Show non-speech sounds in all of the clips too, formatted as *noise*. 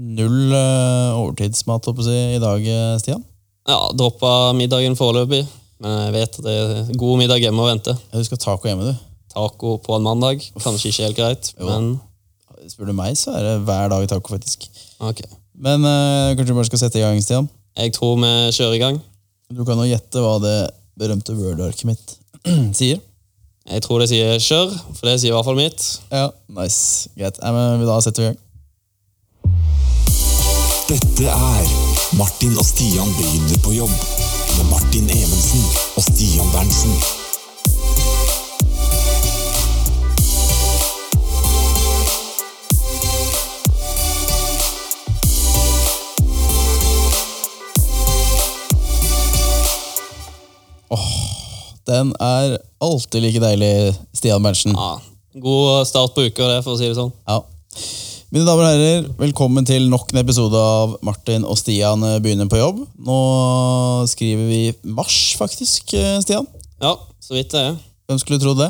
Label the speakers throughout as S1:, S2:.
S1: Null eh, overtidsmat holdt på å si, i dag, eh, Stian.
S2: Ja, droppa middagen foreløpig, men jeg vet at det er god middag hjemme å vente.
S1: Ja, Du skal ha taco hjemme, du.
S2: Taco på en mandag, kanskje ikke helt greit, men
S1: Spør du meg, så er det hver dag taco, faktisk.
S2: ok.
S1: Men eh, kanskje du bare skal sette i gang, Stian?
S2: Jeg tror vi kjører i gang.
S1: Du kan jo gjette hva det berømte Word-arket mitt *clears throat* sier.
S2: Jeg tror det sier kjør, for det sier i hvert fall mitt.
S1: Ja. Nice. Greit. Nei, men Da setter vi i gang.
S3: Dette er Martin og Stian begynner på jobb med Martin Evensen og Stian Berntsen.
S1: Den er alltid like deilig, Stian Berntsen.
S2: Ja, god start på uka, det, for å si det sånn.
S1: Ja. Mine damer og herrer, velkommen til nok en episode av Martin og Stian eh, begynner på jobb. Nå skriver vi mars, faktisk, eh, Stian.
S2: Ja, så vidt det er.
S1: Hvem skulle trodd det?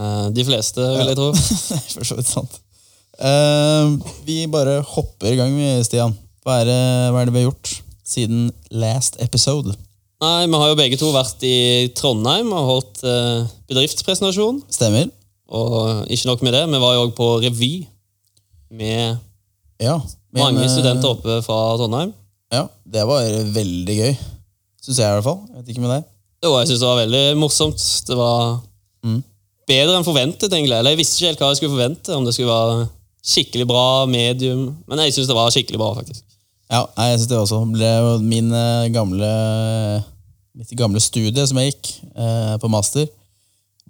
S2: Eh, De fleste, vil jeg tro.
S1: *laughs* Det er for så vidt sant. Eh, vi bare hopper i gang, vi, Stian. Hva er, det- hva er det vi har gjort siden last episode?
S2: Nei, vi har jo begge to vært i Trondheim og holdt eh, bedriftspresentasjon.
S1: Stemmer?
S2: Og ikke nok med det, vi var jo òg på revy med
S1: Ja. men,
S2: mange
S1: eh,
S2: studenter oppe fra Trondheim.
S1: Ja, Det var veldig gøy. Syns jeg, i hvert fall. Jeg vet ikke med deg.
S2: Jo, jeg synes det var veldig morsomt. Det var bedre enn forventet, egentlig. Eller jeg visste ikke helt hva jeg skulle forvente, om det skulle være skikkelig bra medium. Men jeg synes det var skikkelig bra, faktisk.
S1: Ja, nei, jeg synes det også. Det ble jo min eh, gamle, mitt gamle studie som jeg gikk eh, på master,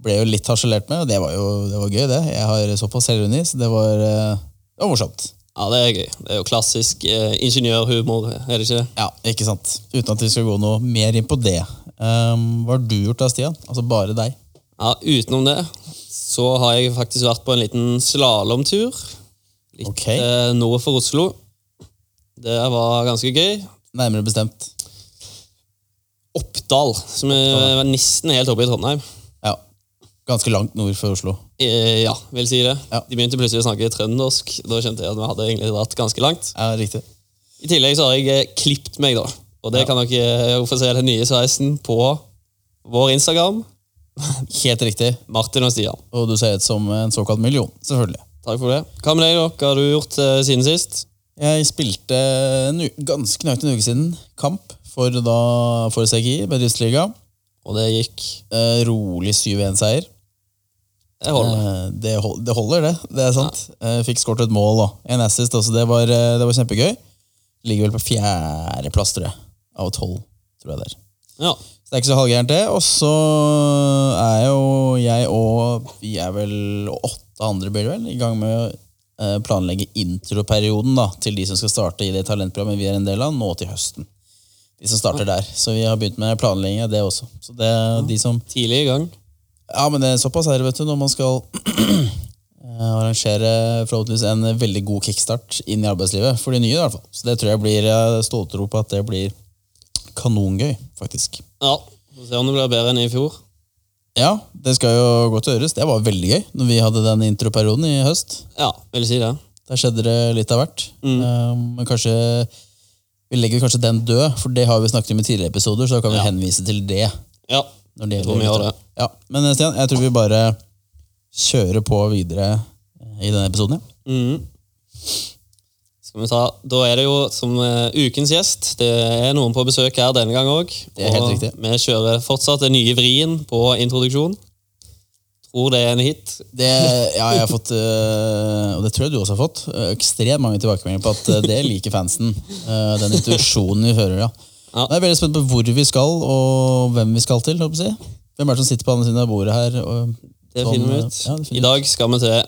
S1: ble jo litt harselert med, og det var jo det var gøy, det. Jeg har såpass selvironi, så det var, eh, det var morsomt.
S2: Ja, det er gøy. Det er jo klassisk eh, ingeniørhumor, er det ikke det?
S1: Ja, ikke sant? Uten at vi skal gå noe mer inn på det. Ehm, hva har du gjort da, Stian? Altså bare deg.
S2: Ja, utenom det så har jeg faktisk vært på en liten slalåmtur. Litt
S1: Ok.
S2: eh, nord for Oslo. Det var ganske gøy.
S1: Nærmere bestemt.
S2: Oppdal, som er er nesten helt oppe i Trondheim.
S1: Ja, ganske langt nord for Oslo.
S2: Eh, ja, vil si det.
S1: Ja.
S2: De begynte plutselig å snakke trøndersk. Da skjønte jeg at vi hadde egentlig dratt ganske langt.
S1: Ja, riktig.
S2: I tillegg så har jeg eh, klippt meg, da. Og det kan dere eh, få se den nye sveisen på vår Instagram. *laughs*
S1: Helt riktig.
S2: Martin og Stian.
S1: Og du ser ut som en såkalt million, selvfølgelig.
S2: Takk for det. Hva med deg, da? Hva har du gjort eh, siden sist?
S1: Jeg spilte en u ganske nøyaktig en uke siden kamp for, da, for CGI, Bedriftsliga.
S2: Og det gikk
S1: Eh, rolig 7-1-seier.
S2: Jeg holder meg.
S1: Eh, det, hol- det holder, det. Det er sant. Eh, fikk skåret et mål og en assist også. Det var, eh, det var kjempegøy. Ligger vel på fjerdeplass, tror jeg. Av tolv, tror jeg det er.
S2: Ja.
S1: Så det er ikke så halvgærent, det. Og så er jo jeg og vi er vel åtte andre blir det vel, i gang med å eh, planlegge introperioden da, til de som skal starte i det talentprogrammet vi er en del av, nå til høsten. De som starter der. Så vi har begynt med planlegging av det også. Så det er de som
S2: Tidlig i gang.
S1: ja, men det er såpass her, vet du, når man skal *clears throat* eh, arrangere forhåpentligvis en veldig god kickstart inn i arbeidslivet, for de nye i hvert fall. Så det tror jeg blir eh, ståltro på at det blir kanongøy, faktisk.
S2: Ja. Får se om det blir bedre enn i fjor.
S1: Ja, det skal jo godt høres. Det var veldig gøy når vi hadde den introperioden i høst.
S2: Ja, vil si det.
S1: Der skjedde det litt av hvert.
S2: Mm.
S1: Eh, men kanskje vi legger kanskje den død, for det har vi snakket om i tidligere episoder, så da kan vi
S2: Ja.
S1: henvise til det.
S2: Ja.
S1: Når det
S2: Jeg tror vi
S1: gjelder-
S2: gjør det.
S1: Ja, Men eh, Stian, jeg tror vi bare kjører på videre eh, i denne episoden. Ja.
S2: Mhm. Skal vi ta, Da er det jo som eh, ukens gjest. Det er noen på besøk her denne gang òg.
S1: Det er helt riktig.
S2: Vi kjører fortsatt den nye vrien på introduksjon. Tror det er en hit.
S1: Det, ja, jeg har fått, øh, og det tror jeg du også har fått, øh, ekstremt mange tilbakemeldinger på at øh, det liker fansen. øh, Den intuisjonen vi fører, ja.
S2: Ja.
S1: Nå er jeg veldig spent på hvor vi skal, og hvem vi skal til. håper jeg å si. Hvem er det som sitter på andre siden av bordet her? og-
S2: Det
S1: sånn,
S2: finner vi
S1: øh,
S2: ut.
S1: Ja, det finner
S2: I
S1: vi ut.
S2: dag skal vi til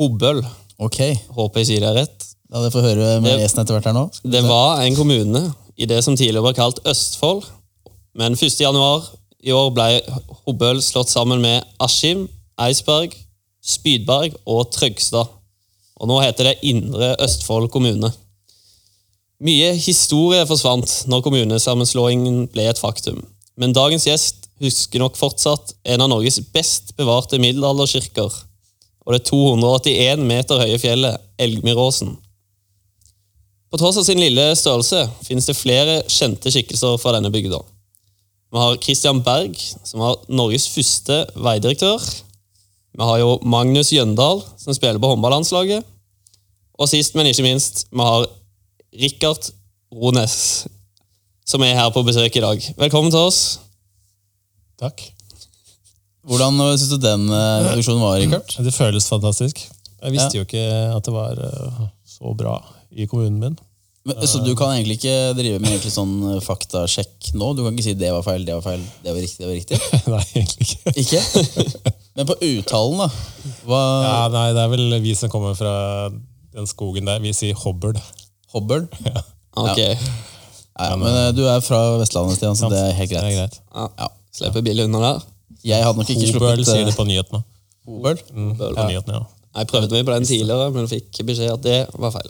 S2: Hobøl.
S1: Ok,
S2: Håper jeg sier det rett.
S1: da hadde jeg fått høre med
S2: Det-
S1: gjesten etter hvert her nå. Skal vi
S2: Det
S1: se.
S2: var en kommune i det som tidligere var kalt Østfold. Men 1. januar i år ble Hobøl slått sammen med Askim, Eidsberg, Spydberg og Trøgstad. Og nå heter det Indre Østfold kommune. Mye historie forsvant når kommunesammenslåingen ble et faktum. Men dagens gjest husker nok fortsatt en av Norges best bevarte middelalderkirker. Og det 281 meter høye fjellet Elgmyråsen. På tross av sin lille størrelse finnes det flere kjente skikkelser fra denne bygda. Vi har Christian Berg, som var Norges første veidirektør. Vi har jo Magnus Jøndal, som spiller på håndballandslaget. Og sist, men ikke minst, vi har Rikard Rones, som er her på besøk i dag. Velkommen til oss.
S4: Takk.
S1: Hvordan syns du den eh, produksjonen var, Rikard?
S4: Det føles fantastisk. Jeg visste jo ikke at det var eh, så bra i kommunen min. *laughs*
S1: Men, Så du kan egentlig ikke drive med egentlig sånn eh, faktasjekk nå? Du kan ikke si 'det var feil', 'det var feil', 'det var riktig', 'det var riktig'?
S4: Nei, egentlig ikke.
S1: Ikke?
S2: *laughs*
S1: Men på uttalen, da? Hva
S4: Ja, nei, det er vel vi som kommer fra den skogen der. Vi sier Hobbard. *laughs*
S1: Hobbel?
S2: Ok,
S1: Nei, men eh, du er fra Vestlandet, Stian, så det er helt
S4: Det er
S1: greit.
S4: greit.
S1: Ja.
S2: slipper billig unna der.
S1: Jeg hadde nok ikke
S4: Hobøl
S1: sluppet
S4: sier
S1: eh,
S4: det på Mm. nyhetene.
S1: Hobøl.
S4: På nyhetene, ja.
S2: Jeg prøvde meg på den tidligere, men fikk beskjed at det var feil.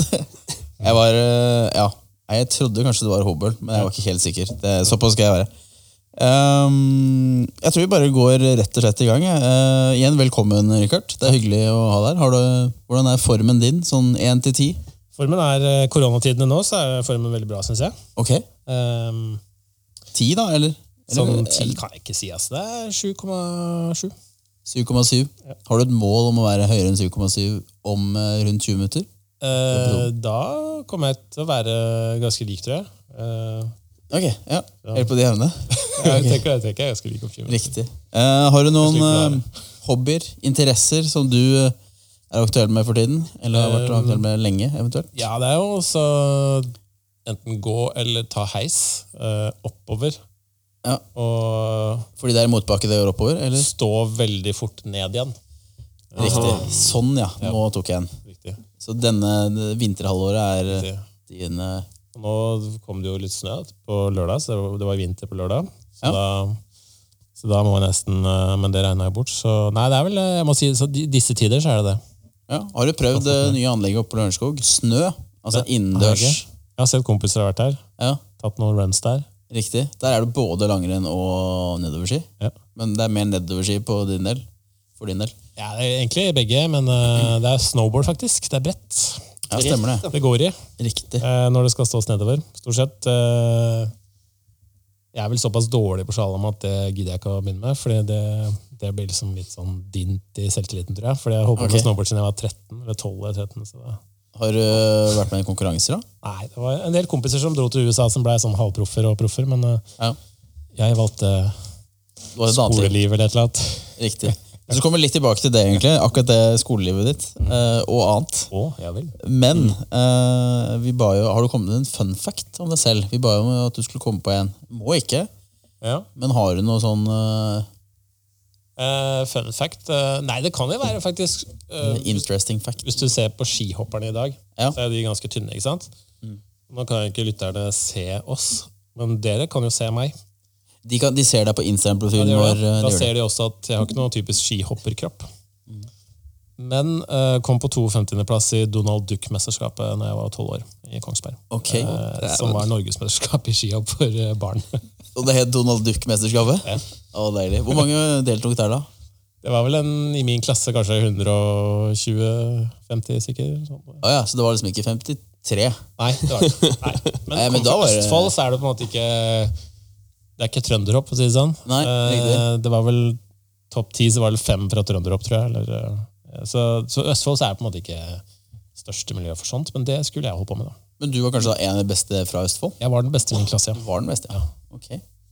S1: *laughs* Jeg var eh, Ja. Nei, Jeg trodde kanskje det var Hobøl, men jeg var ikke helt sikker. Det, såpass skal jeg være. Ehm, jeg tror vi bare går rett og slett i gang. jeg. Eh, igjen, velkommen, Richard. Det er hyggelig å ha deg her. Har du- Hvordan er formen din? Sånn én til ti?
S4: Formen er eh, koronatidene nå, så er formen veldig bra, syns jeg.
S1: Ok.
S4: Ehm,
S1: Ti, da? Eller?
S4: sånn
S1: eller eh,
S4: ti kan jeg ikke si, altså. Det er 7,7.
S1: 7,7. Har du et mål om å være høyere enn 7,7 om eh, rundt 20 minutter?
S4: Eh, da kommer jeg til å være ganske lik, tror jeg. Eh,
S1: Ok, ja. Helt på de evne.
S4: jeg tenker, jeg tenker jeg er ganske lik om 20 minutter.
S1: *laughs* Riktig. Eh, har du noen
S4: slipper det
S1: eh, hobbyer, interesser, som du eh, er aktuell med for tiden? Eller har vært aktuell med lenge, eventuelt?
S4: Ja, det er jo også enten gå eller ta heis eh, oppover.
S1: Ja.
S4: Og
S1: Fordi det er motbakke det går oppover? Eller?
S4: stå veldig fort ned igjen.
S1: Riktig. Sånn, ja. Nå tok jeg en.
S4: Riktig.
S1: Så denne vinterhalvåret er eh,
S4: Riktig.
S1: din eh,
S4: Og nå kom det jo litt snø på lørdag, så det var, det var vinter på lørdag. Så,
S1: Ja.
S4: da, så da må jeg nesten eh, Men det regna jeg bort, så Nei, det er vel eh, jeg må si, så di- disse tider så er det det.
S1: ja. Har du prøvd det nye anlegget oppe på Lørenskog? Snø? Altså innendørs.
S4: Jeg har sett kompiser har vært her.
S1: Ja,
S4: Tatt noen runs der.
S1: riktig. Der er det både langrenn og nedoverski.
S4: Ja.
S1: Men det er mer nedoverski på din del. For din del.
S4: Ja, det er egentlig begge, men eh, det er snowboard, faktisk. Det er bredt.
S1: Ja, stemmer det.
S4: Det går i
S1: Riktig.
S4: eh, når det skal stås nedover. Stort sett. eh, jeg er vel såpass dårlig på slalåm at det gidder jeg ikke å begynne med. fordi det, det blir liksom litt sånn dint i selvtilliten, tror jeg. Fordi jeg holdt på
S1: Ok.
S4: med snowboard siden jeg var 13 eller 12 eller 13. Så det,
S1: Har du vært med i konkurranser, da?
S4: nei, det var en del kompiser som dro til USA som ble sånn halvproffer og proffer, men eh,
S1: Ja.
S4: jeg valgte
S1: Det var et annet liv.
S4: skoleliv eller et eller annet.
S1: Riktig. Så kommer vi litt tilbake til det, egentlig. Akkurat det skolelivet ditt.
S4: Mm.
S1: eh, Og annet.
S4: Å, ja vel.
S1: Men
S4: Mm.
S1: eh, vi ba jo, har du kommet med en fun fact om deg selv? Vi ba jo om at du skulle komme på en. Må ikke.
S4: Ja.
S1: Men har du noe sånn eh,
S4: Eh, fun fact eh, Nei, det kan jo være faktisk eh,
S1: interesting fact?
S4: Hvis du ser på skihopperne i dag,
S1: Ja. Mm.
S4: så er de ganske tynne. ikke sant? Nå kan jo ikke lytterne se oss, men dere kan jo se meg.
S1: De, kan, de ser deg på
S4: Ja,
S1: Instagram-profilen
S4: de gjør
S1: vår. eh,
S4: det. Da
S1: de gjør det. Mm.
S4: ser de også at jeg har ikke noen typisk skihopperkropp. Men eh, kom på 52.-plass i Donald Duck-mesterskapet Når jeg var 12 år, i Kongsberg.
S1: Ok.
S4: Eh, som var norgesmesterskap i skihopp for eh,
S1: *laughs*
S4: barn.
S1: Og det het Donald Duck-mesterskapet? Å, deilig. Hvor mange deltok der, da?
S4: Det var vel en, i min klasse kanskje 120-50 sikkert. Sånn.
S1: Å ja, så det var liksom ikke 53?
S4: Nei, det var det ikke. Nei.
S1: *laughs*
S4: Men,
S1: Nei, men
S4: kom
S1: da
S4: fra
S1: var det-
S4: Østfold så er det på en måte ikke Det er ikke trønderhopp, for å si det sånn.
S1: Nei,
S4: Eh,
S1: riktig.
S4: det var vel topp ti, så var det fem fra trønderhopp, tror jeg. Eller, eh, så, så Østfold så er det på en måte ikke største miljø for sånt, men det skulle jeg holdt på med. da.
S1: Men du var kanskje da en av de beste fra Østfold?
S4: Jeg var den beste i min klasse,
S1: Du
S4: ja.
S1: var den beste, ja. Ok.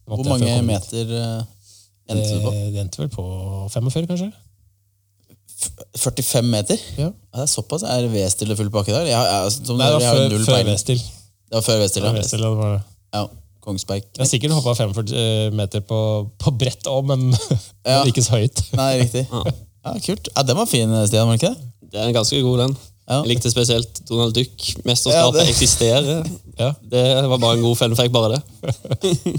S1: Hvor mange
S4: Måtte jeg før jeg kom hit.
S1: meter eh,
S4: Det,
S1: endte du på?
S4: det endte vel på 45, kanskje?
S1: F- 45 meter?
S4: Ja.
S1: Ja, det er såpass. Er det V-stille full pakke der? Jeg, har- jeg, som du
S4: Nei,
S1: hører,
S4: det
S1: jeg har
S4: var
S1: jo null
S4: før, før
S1: peiling.
S4: Vestil.
S1: Det var før V-stille.
S4: Før Vestil, ja, det var det.
S1: Ja. Kongsberg.
S4: Jeg har sikkert hoppa 45 eh, meter på, på brett òg, men, *laughs*
S1: Ja.
S4: men ikke så høyt.
S1: Nei,
S4: *laughs*
S1: riktig. Ja, Kult. Ja, Den var fin, Stian. var den ikke det?
S2: Det er en ganske god, den.
S1: Ja.
S2: Jeg likte spesielt Donald
S1: Ja,
S2: Duck-mesterskapet
S1: det-
S2: eksisterer.
S4: Ja.
S2: Det var bare en god fun fact, bare det.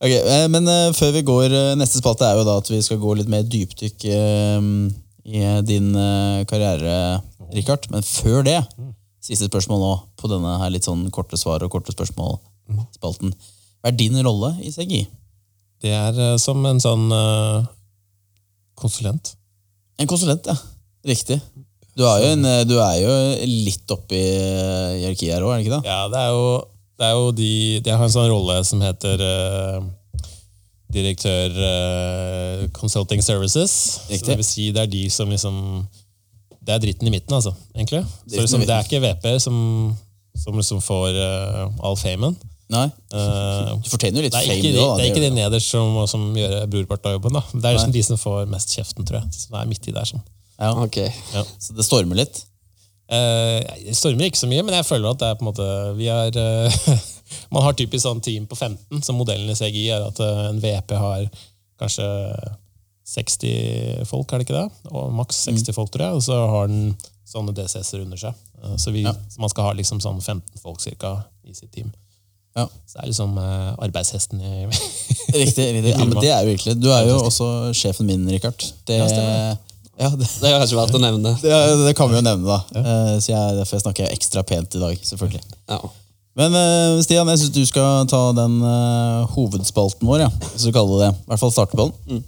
S1: Ok, eh, Men eh, før vi går eh, Neste spalte er jo da at vi skal gå litt mer dypdykk eh, i din eh, karriere, Richard. Men før det,
S4: Mm.
S1: siste spørsmål nå på denne her litt sånn korte svar og korte
S4: Mm.
S1: spørsmål-spalten. Hva er din rolle i CGI?
S4: Det er eh, som en sånn eh, konsulent.
S1: En konsulent, ja. Riktig. Du Du er jo, en, eh, du er jo litt oppe i eh, hierarkiet her òg, er det ikke det?
S4: Ja, det er jo, det er jo de De har en sånn rolle som heter eh, direktør eh, Consulting Services.
S1: Riktig.
S4: Så det vil si det er de som liksom Det er dritten i midten, altså, egentlig.
S1: Dritten i
S4: Så liksom, det
S1: midten.
S4: er ikke VP-er som, som liksom får eh, all famen.
S1: Nei?
S4: *laughs* Eh,
S1: Du fortjener jo litt
S4: det er
S1: fame,
S4: ikke
S1: du
S4: de,
S1: òg.
S4: det er ikke de nederst som, som gjør brorparten av jobben. da. Det er liksom de som får mest kjeften, tror jeg. Som er midt i der sånn.
S1: Ja.
S2: Ok.
S1: Så det stormer litt.
S4: Eh, det stormer ikke så mye, men jeg føler at det er på en måte vi er, eh, *laughs* Man har typisk sånn team på 15, som modellen i CGI er at eh, en VP har kanskje 60 folk, er det ikke det? Og maks 60 folk, tror jeg. Og så har den sånne DCS-er under seg. Eh, så, vi, så man skal ha liksom sånn 15 folk cirka i sitt team.
S1: Ja.
S4: Så det er liksom eh, arbeidshesten i *laughs*
S1: Riktig. riktig. Ja, men det er jo virkelig Du er jo også sjefen min, Richard. Det, ja,
S4: Ja, stemmer
S1: det,
S2: Det har ikke vært å nevne.
S1: det, det kan vi jo nevne, da. Eh, Så jeg, derfor snakker jeg ekstra pent i dag, selvfølgelig.
S2: Ja.
S1: Men eh, Stian, jeg syns du skal ta den eh, hovedspalten vår, ja, hvis du kaller det det. I hvert fall starte på den.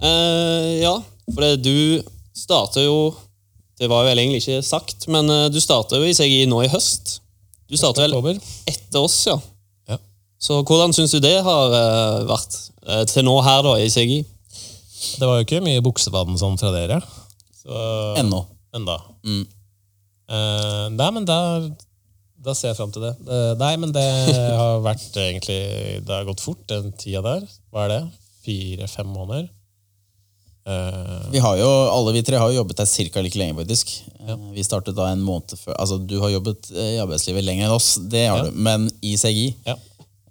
S2: Eh, ja, for det, du starter jo Det var jo vel egentlig ikke sagt, men eh, du starter jo i CGI nå i høst. Du starter vel
S4: oktober.
S2: etter oss, ja.
S4: Ja.
S2: Så hvordan syns du det har eh, vært eh, til nå her, da, i CGI?
S4: Det var jo ikke mye buksevann sånn fra dere. Så,
S1: Ennå.
S4: enda. Eh, nei, men da, da ser jeg fram til det. Eh, nei, men det har vært egentlig Det har gått fort, den tida der. Hva er det? Fire-fem måneder? Eh,
S1: Vi har jo, alle vi tre har jo jobbet her ca. like lenge, faktisk. Eh, Vi startet da en måned før Altså, du har jobbet eh, i arbeidslivet lenger enn oss, det har
S4: Ja.
S1: du, men i CGI.
S4: ja.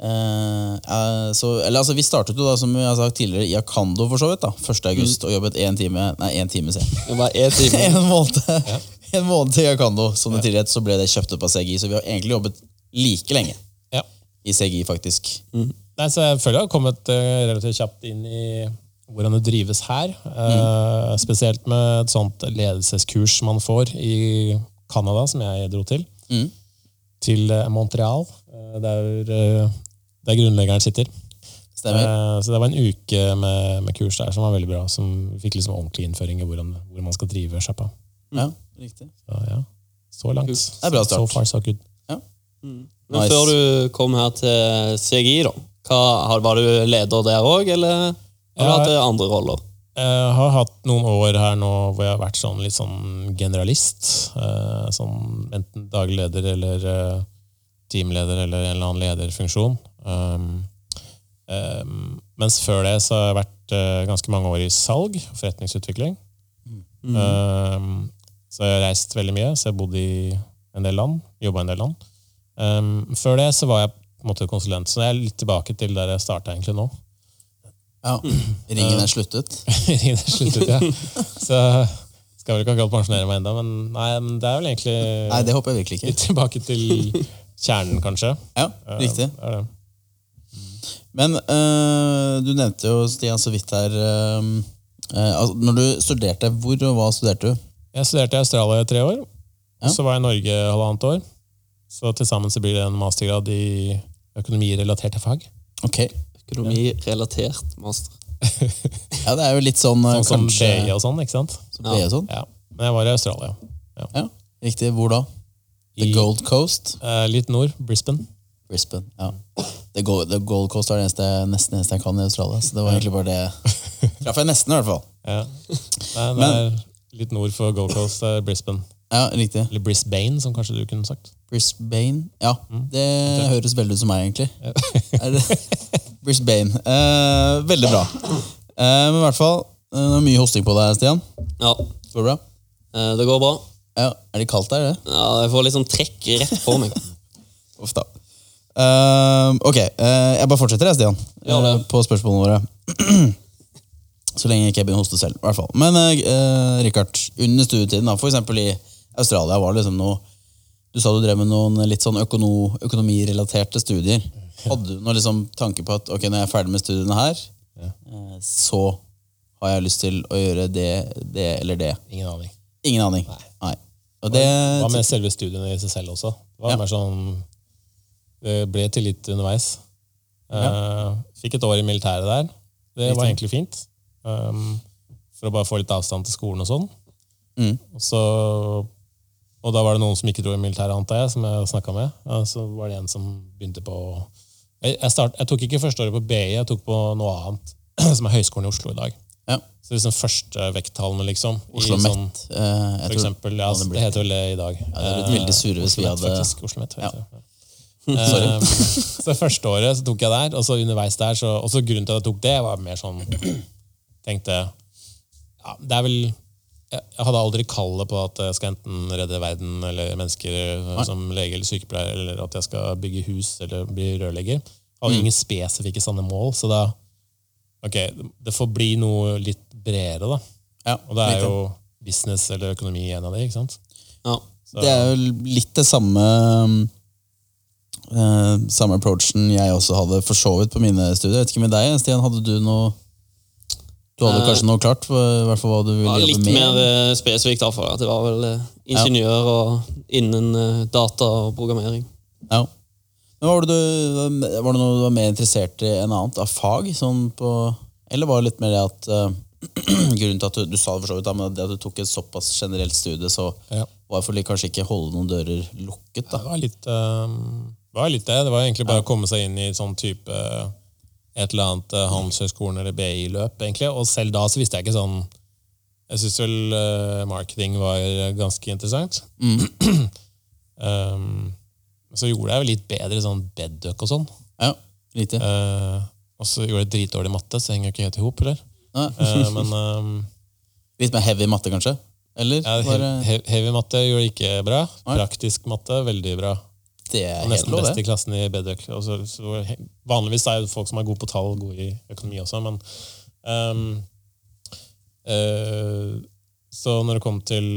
S1: Eh, eh, så, eller altså, Vi startet jo da, som jeg har sagt tidligere, i Akando for så vidt. da 1. august, og jobbet én time Nei, én time, sier jeg.
S2: Det var en time.
S1: *laughs* En måned, en måned til i Akando. Som det tidligere het, så ble det kjøpt opp av CGI. Så vi har egentlig jobbet like lenge
S4: ja.
S1: i CGI, faktisk.
S4: Nei, så jeg føler jeg har kommet eh, relativt kjapt inn i hvordan det drives her. Eh, Spesielt med et sånt ledelseskurs man får i Canada, som jeg dro til.
S1: Mm.
S4: Til eh, Montreal, eh, der, eh, der grunnleggeren sitter.
S1: Stemmer.
S4: Eh, Så det var en uke med, med kurs der som var veldig bra. Som vi fikk liksom ordentlig innføring i hvordan, hvor man skal drive sjappa.
S1: Ja, riktig.
S4: Så, ja. så langt.
S1: Det er bra
S4: So
S1: start.
S4: far, so good.
S1: Ja.
S2: Men
S1: Nice.
S2: før du kom her til CGI, da, hva, har- var du leder der òg, eller har du
S4: Ja.
S2: hatt eh, andre roller?
S4: Jeg Eh, har hatt noen år her nå hvor jeg har vært sånn litt sånn generalist. eh, Sånn enten daglig leder eller eh, teamleder eller en eller annen lederfunksjon. Um, um, mens før det så har jeg vært eh, ganske mange år i salg og forretningsutvikling. Um, så jeg har reist veldig mye, så jeg har bodd i en del land. Jobba i en del land. Um, før det så var jeg på en måte konsulent, så jeg er litt tilbake til der jeg starta egentlig nå.
S1: Ja. Ringen er sluttet.
S4: *laughs* Ringen er sluttet, ja. Så skal vel ikke akkurat pensjonere meg ennå, men nei, men det er vel egentlig
S1: Nei, det håper jeg virkelig ikke.
S4: litt tilbake til kjernen, kanskje.
S1: Ja, *laughs* riktig.
S4: Det er det.
S1: Men eh, du nevnte jo, Stian, så vidt her eh, eh, altså, Når du studerte, hvor og hva studerte du?
S4: Jeg studerte i Australia i tre år,
S1: Ja.
S4: og så var jeg i Norge halvannet år. Så til sammen så blir det en mastergrad i økonomirelaterte fag.
S1: Ok.
S2: Økonomirelatert master.
S1: Ja, det er jo litt sånn, eh,
S4: Sånn som
S1: kanskje
S4: BI og sånn, ikke sant?
S1: som BE og sånn.
S4: Ja. Men jeg var i Australia. Ja.
S1: Ja, riktig. Hvor da? The
S4: I-
S1: Gold Coast?
S4: Eh, litt nord, Brisbane.
S1: Brisbane. Ja. The Gold, the Gold Coast er det eneste, nesten eneste jeg kan i Australia, så det var egentlig bare det. *laughs* Traff jeg nesten, i hvert fall.
S4: Ja. Nei, det er litt nord for Gold Coast, det er Brisbane.
S1: Ja, riktig.
S4: Eller Brisbane, som kanskje du kunne sagt.
S1: Brisbane. Ja, det høres veldig ut som meg, egentlig. *laughs* Er det? Brisbane. Eh, veldig bra. Eh, men i hvert fall, eh, det er mye hosting på deg, Stian.
S2: Ja,
S1: Går det bra?
S2: eh, det går bra.
S1: Ja, er det kaldt der, det?
S2: Ja, jeg får litt sånn trekk rett på meg.
S1: Uff da. Eh, ok, eh, jeg bare fortsetter, jeg, Stian,
S2: Ja, det.
S1: eh, på spørsmålene våre. *clears throat* Så lenge jeg ikke begynner å hoste selv, i hvert fall. Men eh, eh, Richard, under studietiden, da, for eksempel i Australia, var det liksom noe Du sa du drev med noen litt sånn økono, økonomirelaterte studier. Hadde du noen liksom tanke på at ok, når jeg er ferdig med studiene her, eh, så har jeg lyst til å gjøre det, det eller det?
S4: Ingen aning.
S1: Ingen aning. Nei. Og det
S4: Hva med selve studiene i seg selv også? Det var
S1: Eh, Ja.
S4: mer sånn Det ble til litt underveis. Eh, fikk et år i militæret der. Det var egentlig fint. Um, for å bare få litt avstand til skolen og sånn.
S1: Mm.
S4: Og Så, og da var det noen som ikke dro i militæret, antar jeg, som jeg snakka med. Ja, Så var det en som begynte på jeg, jeg, start, jeg tok ikke første året på BI, jeg tok på noe annet, *clears throat* som er Høgskolen i Oslo i dag.
S1: Ja.
S4: Så liksom førstevekttallene, liksom. i
S1: Oslo
S4: sånn-
S1: Met. eh, jeg
S4: For
S1: tror-
S4: eksempel, ja,
S1: hadde
S4: det
S1: blitt-
S4: heter vel det i dag.
S1: Ja, det hadde blitt veldig sure hvis vi
S4: Oslomet,
S1: hadde-
S4: faktisk. Oslomet,
S1: Ja.
S4: vet du.
S1: *laughs*
S4: ja. Eh, så første året så tok jeg der, og så underveis der, så, og så grunnen til at jeg tok det, var mer sånn Tenkte ja, Det er vel jeg, jeg hadde aldri kallet på at jeg skal enten redde verden eller mennesker eh, som lege eller sykepleier, eller at jeg skal bygge hus eller bli rørlegger. Jeg
S1: Mm.
S4: hadde ingen spesifikke sånne mål, så da Ok, det får bli noe litt bredere, da.
S1: Ja,
S4: Og det er jo business eller økonomi en av de, ikke sant?
S2: Ja.
S1: *laughs*
S4: Så-
S1: Det er jo litt det samme eh, Samme approachen jeg også hadde for så vidt på mine studier. Jeg vet ikke med deg, Stian, hadde du noe Du hadde
S2: Eh,
S1: kanskje noe klart? For, i hvert fall hva du ville
S2: Ja, litt
S1: jobbe med?
S2: mer eh, spesifikt derfor. da. Det var vel eh, ingeniør og innen eh, data og programmering.
S1: Ja. Men var det, du, var det noe du var mer interessert i enn annet av fag? Sånn på, eller var det litt mer det at eh, *clears throat* Grunnen til at du, du sa det for så vidt da, men det at du tok et såpass generelt studie, så
S4: Ja.
S1: var det for å kanskje ikke holde noen dører lukket?
S4: Det
S1: da
S4: var litt, ehm, det var litt det. Det var egentlig bare å komme seg inn i sånn type et eller annet eh, Handelshøyskolen eller BI-løp, egentlig. Og selv da så visste jeg ikke sånn Jeg syns vel eh, marketing var ganske interessant.
S1: Mm.
S4: *clears throat* Ehm, så gjorde jeg jo litt bedre sånn bedduck og sånn.
S1: Ja, lite.
S4: Eh, og så gjorde jeg dritdårlig matte, så det henger jo ikke helt i hop, eller?
S1: Nei.
S4: Eh, men ehm,
S1: Litt mer heavy matte, kanskje? Eller?
S4: Ja,
S1: var det-
S4: he- he- heavy matte gjorde ikke bra.
S1: Nei.
S4: Praktisk matte, veldig bra.
S1: Det er helt
S4: Nesten
S1: lov,
S4: best i
S1: det.
S4: klassen i bedøk. Og så- så he- Vanligvis er jo folk som er gode på tall, gode i økonomi også, men ehm, eh, Så når det kom til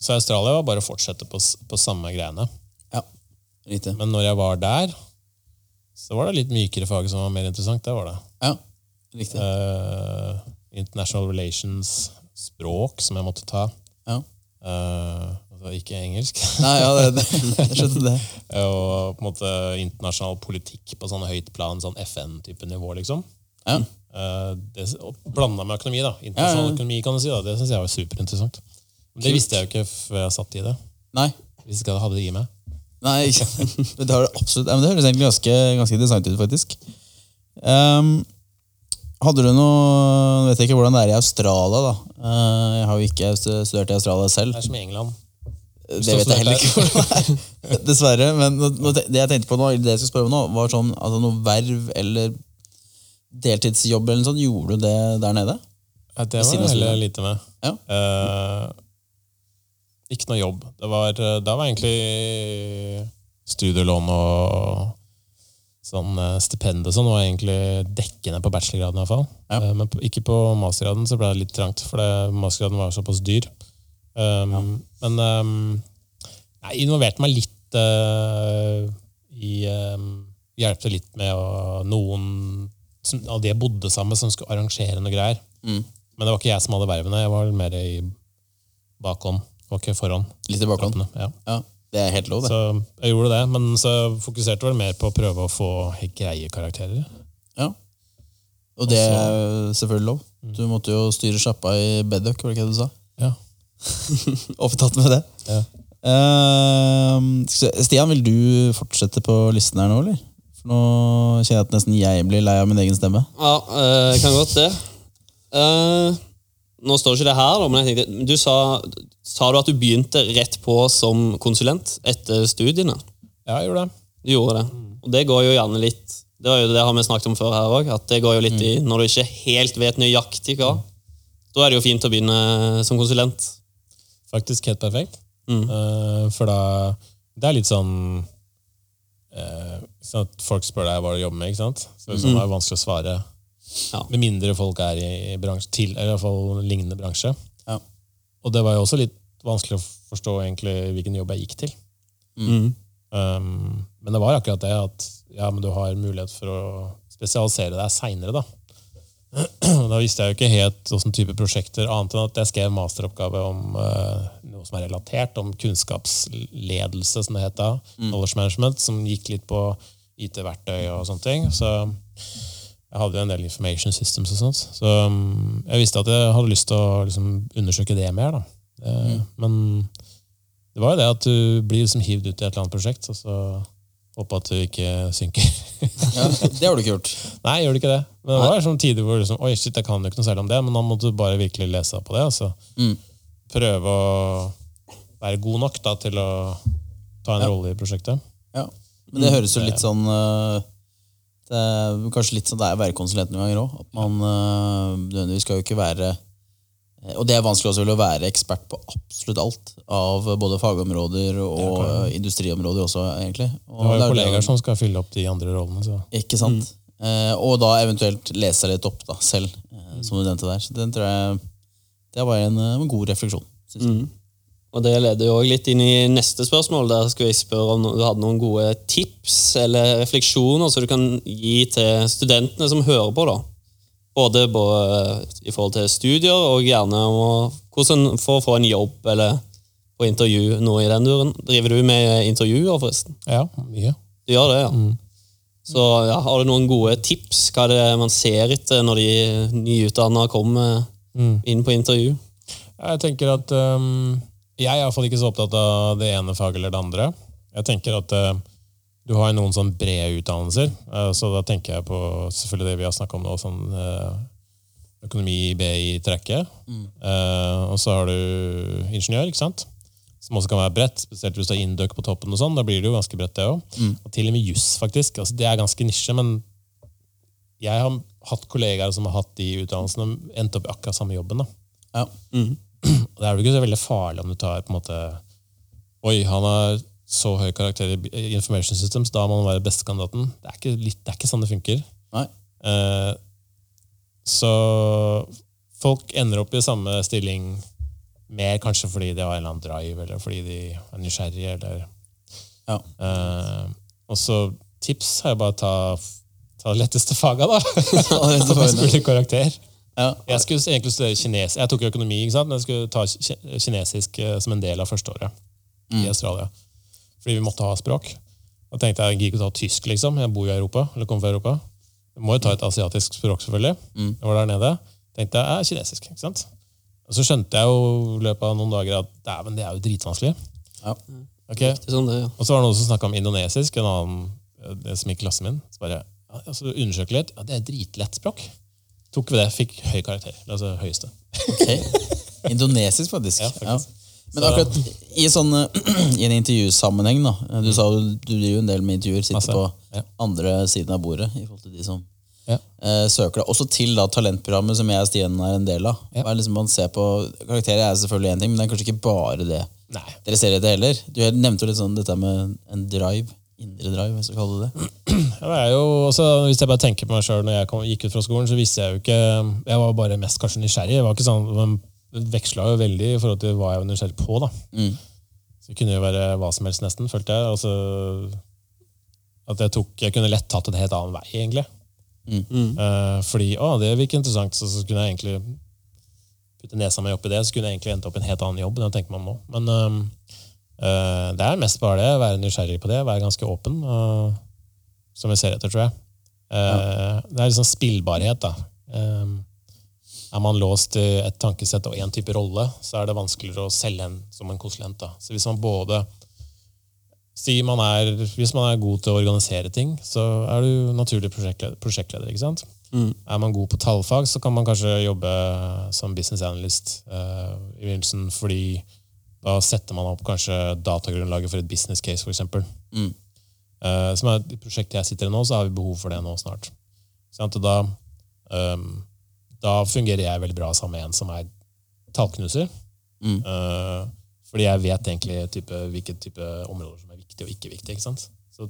S4: Så Australia var bare å fortsette på, s- på samme greiene.
S1: Ja, riktig.
S4: Men når jeg var der, så var det litt mykere fag som var mer interessant. Det var det.
S1: Ja, riktig.
S4: Eh, international relations, språk, som jeg måtte ta.
S1: Ja.
S4: Eh, altså ikke engelsk. *laughs*
S1: Nei, ja, det, *laughs* det, jeg skjønte det.
S4: Eh, og på en måte internasjonal politikk på sånn høyt plan, sånn FN-type nivå, liksom.
S1: Ja,
S4: Eh, det, og blanda med økonomi, da. Internasjonal
S1: Ja, ja.
S4: økonomi, kan du si. da. Det syns jeg var superinteressant. Men det
S1: Kult.
S4: visste jeg jo ikke før jeg satt i det.
S1: nei.
S4: Hvis ikke jeg hadde det i meg.
S1: Nei, ikke- *laughs* men det, har du absolutt, ja, men det høres egentlig ganske, ganske interessant ut, faktisk. Ehm, hadde du noe Nå vet jeg ikke hvordan det er i Australia, da. Eh, jeg har jo ikke stu- studert i Australia selv.
S4: Det er som i England.
S1: Det vet jeg heller ikke hvordan det er. *laughs* Dessverre. Men nå- nå te- det jeg tenkte på nå, eller det jeg skulle spørre om nå, var sånn altså noe verv eller deltidsjobb eller noe sånt. Gjorde du det der nede?
S4: Ja, det
S1: Ved siden av
S4: var det heller
S1: studien.
S4: lite med.
S1: Ja.
S4: Eh, ikke noe jobb. Det var, eh, da var egentlig studielån og sånn eh, stipend og sånn var egentlig dekkende på bachelorgraden i hvert fall.
S1: Ja.
S4: Eh, men på, ikke på mastergraden så ble det litt trangt, for det, mastergraden var såpass dyr. Um, Men um, jeg involverte meg litt eh, i um, Hjalp til litt med å, noen som, av de jeg bodde sammen med, som skulle arrangere noe greier.
S1: Mm.
S4: Men det var ikke jeg som hadde vervene. Jeg var mer i bakhånd. Var ikke foran.
S1: Litt i bakhånd?
S4: trappene, Ja.
S1: Ja, det er helt lov, det.
S4: Så jeg gjorde det, men så fokuserte jeg vel mer på å prøve å få greie karakterer.
S1: Ja. Og det er jo selvfølgelig lov. Du måtte jo styre sjappa i Bedøk, var det ikke det du sa? *laughs*
S4: Ja.
S1: Opptatt med det.
S4: Ja.
S1: Ehm, skal vi se. Stian, vil du fortsette på listen her nå, eller? For nå kjenner jeg at nesten jeg blir lei av min egen stemme.
S2: Ja, eh, kan godt det. Eh, nå står ikke det her, da, men jeg tenkte, du sa, sa du at du begynte rett på som konsulent etter studiene?
S4: ja, jeg gjorde det.
S2: Du gjorde det. Og det går jo gjerne litt Det var jo det har vi snakket om før her òg, at det går jo litt i når du ikke helt vet nøyaktig hva. Da er det jo fint å begynne eh, som konsulent.
S4: Faktisk helt perfekt.
S2: Mm.
S4: Eh, for da Det er litt sånn eh, ikke sant, Folk spør deg hva du jobber med, ikke sant? Så det er sånn, det er vanskelig å svare.
S2: Mm. Ja.
S4: Med mindre folk er i, i bransje, til, eller i hvert fall lignende bransje.
S1: Ja.
S4: Og det var jo også litt vanskelig å forstå egentlig hvilken jobb jeg gikk til.
S2: Mm.
S4: Um, men det var akkurat det at ja, men du har mulighet for å spesialisere deg seinere, da. Da visste jeg jo ikke helt hvilken type prosjekter, annet enn at jeg skrev masteroppgave om eh, noe som er relatert, om kunnskapsledelse, som det het da. Knowledge management, som gikk litt på IT-verktøy og sånne ting. Så jeg hadde jo en del information systems og sånt. Så um, jeg visste at jeg hadde lyst til å liksom, undersøke det mer, da. Det, Men det var jo det at du blir liksom hivd ut i et eller annet prosjekt, og så håper at du ikke synker. *laughs*
S1: Ja, det har du ikke gjort.
S4: Nei, gjør det ikke det. Men det var sånn tider hvor liksom, Oi, shit, jeg kan jo ikke noe særlig om det, men da måtte du bare virkelig lese på det. Altså.
S1: Mm.
S4: Prøve å være god nok da, til å ta en rolle i prosjektet.
S1: Ja. Men det høres jo litt
S4: Mm.
S1: sånn øh, det er Kanskje litt sånn det er å være konsulent noen ganger òg. Man øh, nødvendigvis skal jo ikke være eh, Og det er vanskelig også vel å være ekspert på absolutt alt. Av både fagområder og øh, industriområder også, egentlig. Og
S4: Du har
S1: det
S4: jo
S1: er det-
S4: kollegaer som Mm. skal fylle opp de andre rollene. Så.
S1: Ikke sant? Eh, og da eventuelt lese litt opp da, selv, eh,
S4: Mm.
S1: som du nevnte der. Så den tror jeg Det var en, eh, en god refleksjon. Synes
S4: Mm.
S1: jeg.
S2: Og Det leder jo også litt inn i neste spørsmål. Der skulle jeg spørre om du hadde noen gode tips eller refleksjoner som du kan gi til studentene som hører på. da. Både, både i forhold til studier og gjerne om å- hvordan for å få en jobb eller på intervju. noe i den duren. Driver du med intervjuer, forresten?
S4: Ja, mye.
S2: Du gjør det, ja. Så ja, Har du noen gode tips? Hva er det man ser etter når de nyutdanna kommer inn på intervju?
S4: Jeg tenker at øhm, Jeg er iallfall ikke så opptatt av det ene faget eller det andre. Jeg tenker at øhm, du har jo noen sånn brede utdannelser, øh, så da tenker jeg på selvfølgelig det vi har snakka om nå, sånn øh, økonomi, BI, trekke. Eh, og så har du ingeniør, ikke sant? Som også kan være bredt, spesielt hvis du har indøk på toppen og sånn. Da blir det jo ganske bredt, det òg. Og til og med juss, faktisk. Altså, det er ganske nisje, men jeg har hatt kollegaer som har hatt de utdannelsene, endt opp i akkurat samme jobben. da.
S1: Ja.
S4: Og Det er jo ikke så veldig farlig om du tar på en måte Oi, han har så høy karakter i i Information Systems, da må han være bestekandidaten. Det er ikke, litt, det er ikke sånn det funker.
S1: Nei.
S4: Eh, så folk ender opp i samme stilling mer kanskje fordi de har en eller annen drive, eller fordi de er nysgjerrige, eller
S1: Ja. *laughs*
S4: eh, Og så tips er jo bare å ta, ta det letteste faga, da. *laughs*
S1: det letteste faget.
S4: Best mulig karakter.
S1: Ja.
S4: Jeg skulle egentlig studere kines. Jeg tok jo økonomi, ikke sant? men jeg skulle ta ki- kinesisk eh, som en del av førsteåret i Australia. Fordi vi måtte ha språk. Da tenkte jeg jeg gidder ikke å ta tysk, liksom. Jeg bor jo i Europa. eller kommer fra Europa. Jeg må jo ta et asiatisk språk, selvfølgelig. Jeg var der nede. tenkte jeg, jeg er kinesisk, ikke sant? Og så skjønte jeg jo i løpet av noen dager at dæven, det er jo dritvanskelig.
S1: Ja.
S4: Ok,
S2: Det er sånn det, er, ja.
S4: og så var det noen som snakka om indonesisk, en annen eh, som gikk i klassen min. Så bare, ja, altså, undersøkte litt. Ja, det er dritlett språk. Tok vi det, fikk høy karakter. Altså høyeste.
S1: Ok. Indonesisk, faktisk.
S4: Ja,
S1: Ja,
S4: faktisk.
S1: Men akkurat i, sånne, *clears throat* i en intervjusammenheng, da. Du sa jo du driver jo en del med intervjuer, sitter
S4: Mm. Masse.
S1: på
S4: Ja.
S1: andre siden av bordet i forhold til de som
S4: Ja.
S1: eh, søker deg. Også til da talentprogrammet som jeg og Stian er en del av.
S4: Ja.
S1: Hva er liksom man ser på, Karakterer er selvfølgelig én ting, men det er kanskje ikke bare det.
S4: Nei.
S1: Dere ser etter heller. Du nevnte jo litt sånn dette med en drive. Indre drive, hvis du kaller det det.
S4: Ja, det er jo, også, hvis jeg bare tenker på meg sjøl når jeg kom, gikk ut fra skolen, så visste jeg jo ikke Jeg var bare mest kanskje nysgjerrig. Jeg var ikke sånn, men veksla jo veldig i forhold til hva jeg var nysgjerrig på. da. Så det kunne jo være hva som helst, nesten, følte jeg. Altså, at jeg, tok, jeg kunne lett tatt en helt annen vei, egentlig. Eh, fordi å, det virker interessant, så, så kunne jeg egentlig putte nesa mi oppi det, så kunne jeg egentlig endt opp i en helt annen jobb. enn jeg tenker meg om nå. Men øhm, øh, det er mest bare det. Være nysgjerrig på det, være ganske åpen. og som vi ser etter, tror jeg. Eh, Det er liksom spillbarhet, da. Ehm, er man låst i et tankesett og én type rolle, så er det vanskeligere å selge en som en konsulent. da. Så hvis man både si man er, Hvis man er god til å organisere ting, så er du naturlig prosjektleder. prosjektleder ikke sant? Er man god på tallfag, så kan man kanskje jobbe som business analyst eh, i begynnelsen, fordi da setter man opp kanskje datagrunnlaget for et business case, for eksempel. Eh, som er et prosjekt jeg sitter i nå, så har vi behov for det nå snart. Ikke sant? Og da, ehm, da fungerer jeg veldig bra sammen med en som er tallknuser. Eh, fordi jeg vet egentlig type, hvilke type områder som er viktige og ikke viktige. Ikke sant? Så,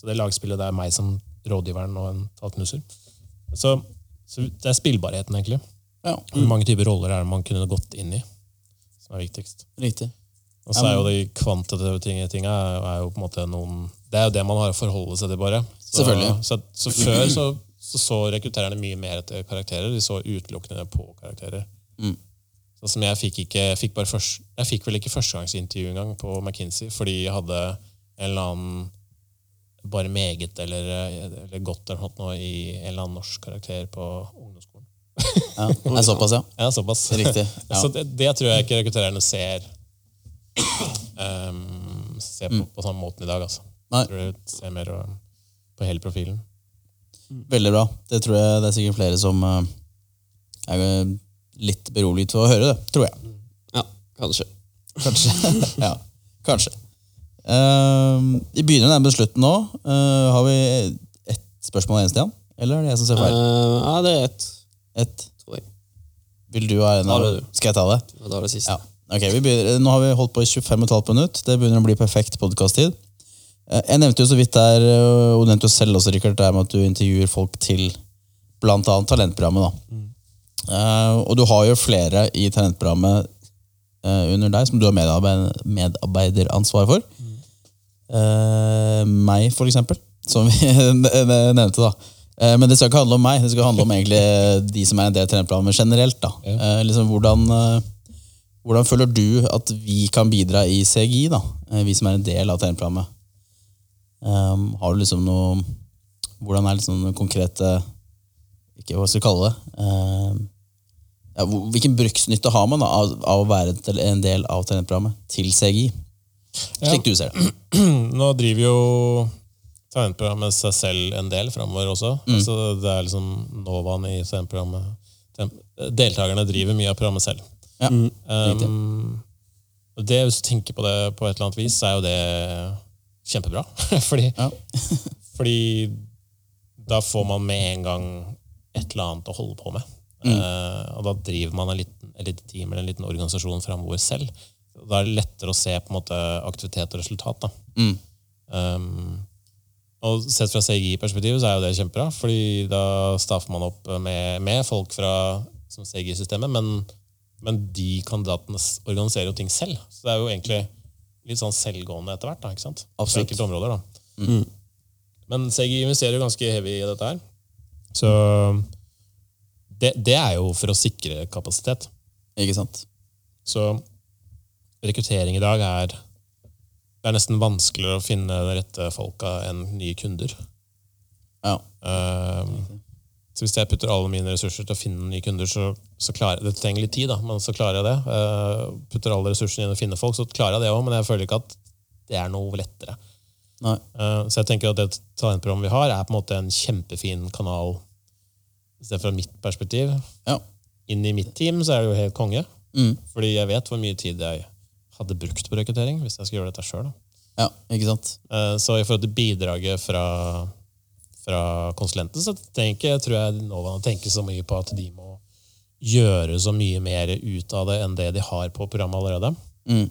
S4: så det lagspillet det er meg som rådgiveren og en tallknuser. Så, så det er spillbarheten, egentlig.
S1: Ja,
S4: Hvor mange typer roller er det man kunne gått inn i, som er viktigst?
S1: riktig.
S4: Og så er jo de kvantitative ting- tinga er jo på en måte noen Det er jo det man har å forholde seg til, bare. Så,
S1: Selvfølgelig.
S4: Så, så før så, så, så rekruttererne mye mer etter karakterer. De så utelukkende på karakterer. Sånn som jeg fikk ikke Jeg fikk, bare først, jeg fikk vel ikke førstegangsintervju engang på McKinsey fordi jeg hadde en eller annen bare meget eller, eller godt eller noe i en eller annen norsk karakter på ungdomsskolen.
S1: Ja, det er såpass, ja.
S4: Ja, såpass. *laughs*
S1: Riktig, ja.
S4: Så det, det tror jeg ikke rekruttererne ser ehm, Ser på, på samme måten i dag, altså.
S1: Mm. Nei.
S4: Jeg tror de ser mer eh, på hele profilen.
S1: Veldig bra. Det tror jeg det er sikkert flere som eh, er eh, litt beroliget for å høre det, tror jeg.
S2: Ja, kanskje.
S1: Kanskje. *laughs* ja, kanskje. Ehm, vi begynner å nærme oss slutten nå. Eh, har vi ett spørsmål igjen, Stian? Eller er det jeg som ser
S2: Eh,
S1: feil?
S2: ja, det er ett,
S1: Ett.
S2: tror jeg.
S1: Vil du ha en?
S2: Ta
S1: av-
S2: det, du.
S1: Skal jeg ta det?
S2: Og da er det siste.
S1: Ja. Ok, vi begynner, Nå har vi holdt på i 25,5 minutt. Det begynner å bli perfekt podkast-tid. Eh, Jeg nevnte jo så vidt der, eh, og du nevnte jo selv også, Rikard, det er med at du intervjuer folk til bl.a. talentprogrammet. da. Eh, og du har jo flere i talentprogrammet eh, under deg som du har medarbeid, medarbeideransvar for. Eh, meg, for eksempel, som vi *laughs* nevnte. da. Eh, men det skal ikke handle om meg, det skal handle om egentlig de som er en del av talentprogrammet generelt. da. Eh, liksom hvordan... eh, hvordan føler du at vi kan bidra i CGI, da? Eh, vi som er en del av TN-programmet? Ehm, har du liksom noe Hvordan er liksom den konkrete Ikke hva skal vi kalle det? ehm, ja, hvor- hvilken bruksnytte har man da, av, av å være til, en del av TN-programmet til CGI? Slik du ser det.
S4: Mm, Nå driver jo talentprogrammet seg selv en del framover også.
S1: Mm.
S4: Altså, det er liksom Novaen i talentprogrammet. Tem- Deltakerne driver mye av programmet selv.
S1: Ja,
S4: Um, og det, hvis du tenker på det på et eller annet vis, så er jo det kjempebra. *laughs* fordi,
S1: Ja.
S4: fordi da får man med en gang et eller annet å holde på med.
S1: Mm.
S4: Eh, og da driver man en liten, et lite team eller en liten organisasjon framover selv. Da er det lettere å se på en måte aktivitet og resultat. da.
S1: Mm.
S4: Um, og sett fra CGI-perspektivet så er jo det kjempebra, fordi da staffer man opp med, med folk fra som CGI-systemet, men, men de kandidatene s- organiserer jo ting selv. Så det er jo egentlig litt sånn selvgående etter hvert, da, ikke sant? På
S1: Absolutt.
S4: enkelte områder, da. Men CGI investerer jo ganske heavy i dette her. Så det, det er jo for å sikre kapasitet.
S1: Ikke sant?
S4: Så rekruttering i dag er Det er nesten vanskeligere å finne de rette folka enn nye kunder.
S1: Ja.
S4: Ehm, så hvis jeg putter alle mine ressurser til å finne nye kunder, så, så klarer Det trenger litt tid, da, men så klarer jeg det. Ehm, putter alle ressursene inn å finne folk, så klarer jeg det òg, men jeg føler ikke at det er noe lettere.
S1: Nei.
S4: Eh, Så jeg tenker at det talentprogrammet vi har, er på en måte en kjempefin kanal, i stedet fra mitt perspektiv.
S1: Ja.
S4: Inn i mitt team så er det jo helt konge,
S1: Mm.
S4: fordi jeg vet hvor mye tid jeg hadde brukt på rekruttering hvis jeg skulle gjøre dette sjøl.
S1: ja, ikke sant?
S4: Eh, Så i forhold til bidraget fra, fra konsulenten, så tenker jeg, tror jeg Nova tenker så mye på at de må gjøre så mye mer ut av det enn det de har på programmet allerede.
S1: Mm.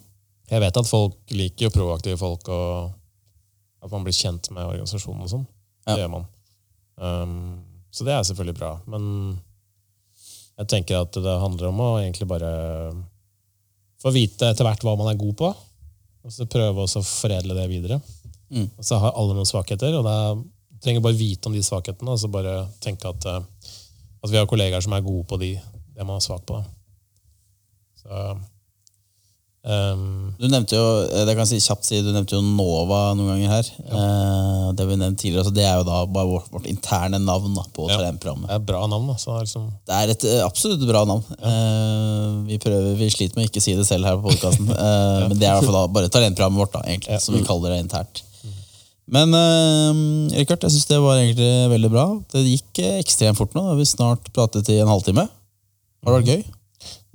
S4: Jeg vet at folk liker jo proaktive folk, og at man blir kjent med organisasjonen og sånn. Det gjør man. Um, så det er selvfølgelig bra, men jeg tenker at det handler om å egentlig bare få vite etter hvert hva man er god på, og så prøve også å foredle det videre.
S1: Mm.
S4: Og så har alle noen svakheter, og da trenger jeg bare vite om de svakhetene, og så bare tenke at, eh, at vi har kollegaer som er gode på de, det man er svak på. Da. Så um,
S1: Du nevnte jo eh, det kan jeg si kjapt si, du nevnte jo Nova noen ganger her. Eh, det vi nevnte tidligere, altså det er jo da bare vårt, vårt interne navn da, på
S4: Ja.
S1: talentprogrammet.
S4: Det er et bra navn, da. Så det er liksom,
S1: Det er et eh, absolutt bra navn. Eh, vi prøver, vi sliter med å ikke si det selv her på podkasten. Eh, Men det er i hvert fall da bare talentprogrammet vårt, da, egentlig, som vi kaller det internt. Men eh, Richard, jeg syns det var egentlig veldig bra. Det gikk eh, ekstremt fort nå. Da har vi snart pratet i en halvtime. Har det vært gøy?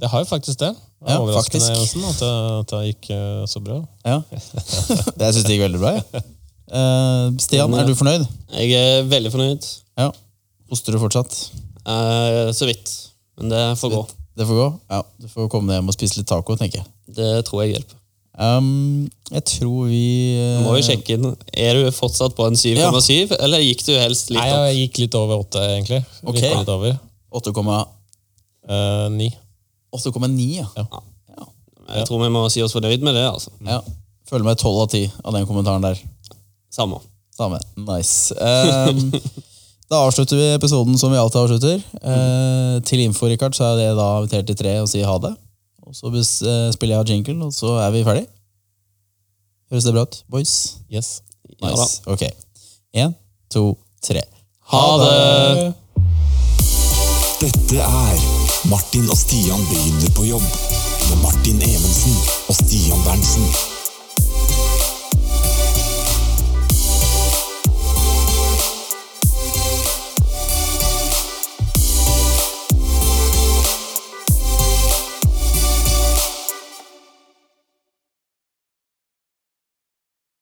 S4: det har jo faktisk det. Det er
S1: Ja,
S4: overraskende
S1: faktisk.
S4: Johnsen, at, det- at det gikk eh, så bra.
S1: Ja. *laughs* Jeg syns det gikk veldig bra. Ja. Eh, Stian, er du fornøyd?
S2: Jeg er veldig fornøyd.
S1: Ja. Hoster du fortsatt?
S2: Eh, så vidt. Men det får gå.
S1: Det får gå. Ja, Du får komme deg hjem og spise litt taco, tenker jeg.
S2: Det tror jeg hjelper.
S1: Um, jeg tror vi eh,
S2: Du må jo sjekke inn. Er du fortsatt på en 7,7, eller gikk du helst litt
S4: Nei,
S2: opp?
S4: jeg gikk litt over åtte, egentlig.
S1: Ok.
S4: Litt, litt over.
S1: 8,8.
S4: Eh, Ni.
S1: 8,9, ja.
S4: Ja.
S1: Ja.
S2: Jeg tror vi må si oss fornøyd med det. altså.
S1: ja. Føler meg 12 av 10 av den kommentaren der.
S2: Samme.
S1: Samme. Nice. Ehm, da avslutter vi episoden som vi alltid avslutter. Eh, til info, Rikard, så er det da vi teller til tre og sier ha det. Og så bes- eh, spiller jeg av jingle, og så er vi ferdig. Høres det bra ut, boys?
S4: Yes.
S2: Ja da.
S1: Nice. Ok. Én, to, tre.
S2: Ha det!
S3: Dette er Martin og Stian begynner på jobb med Martin Evensen og Stian Berntsen.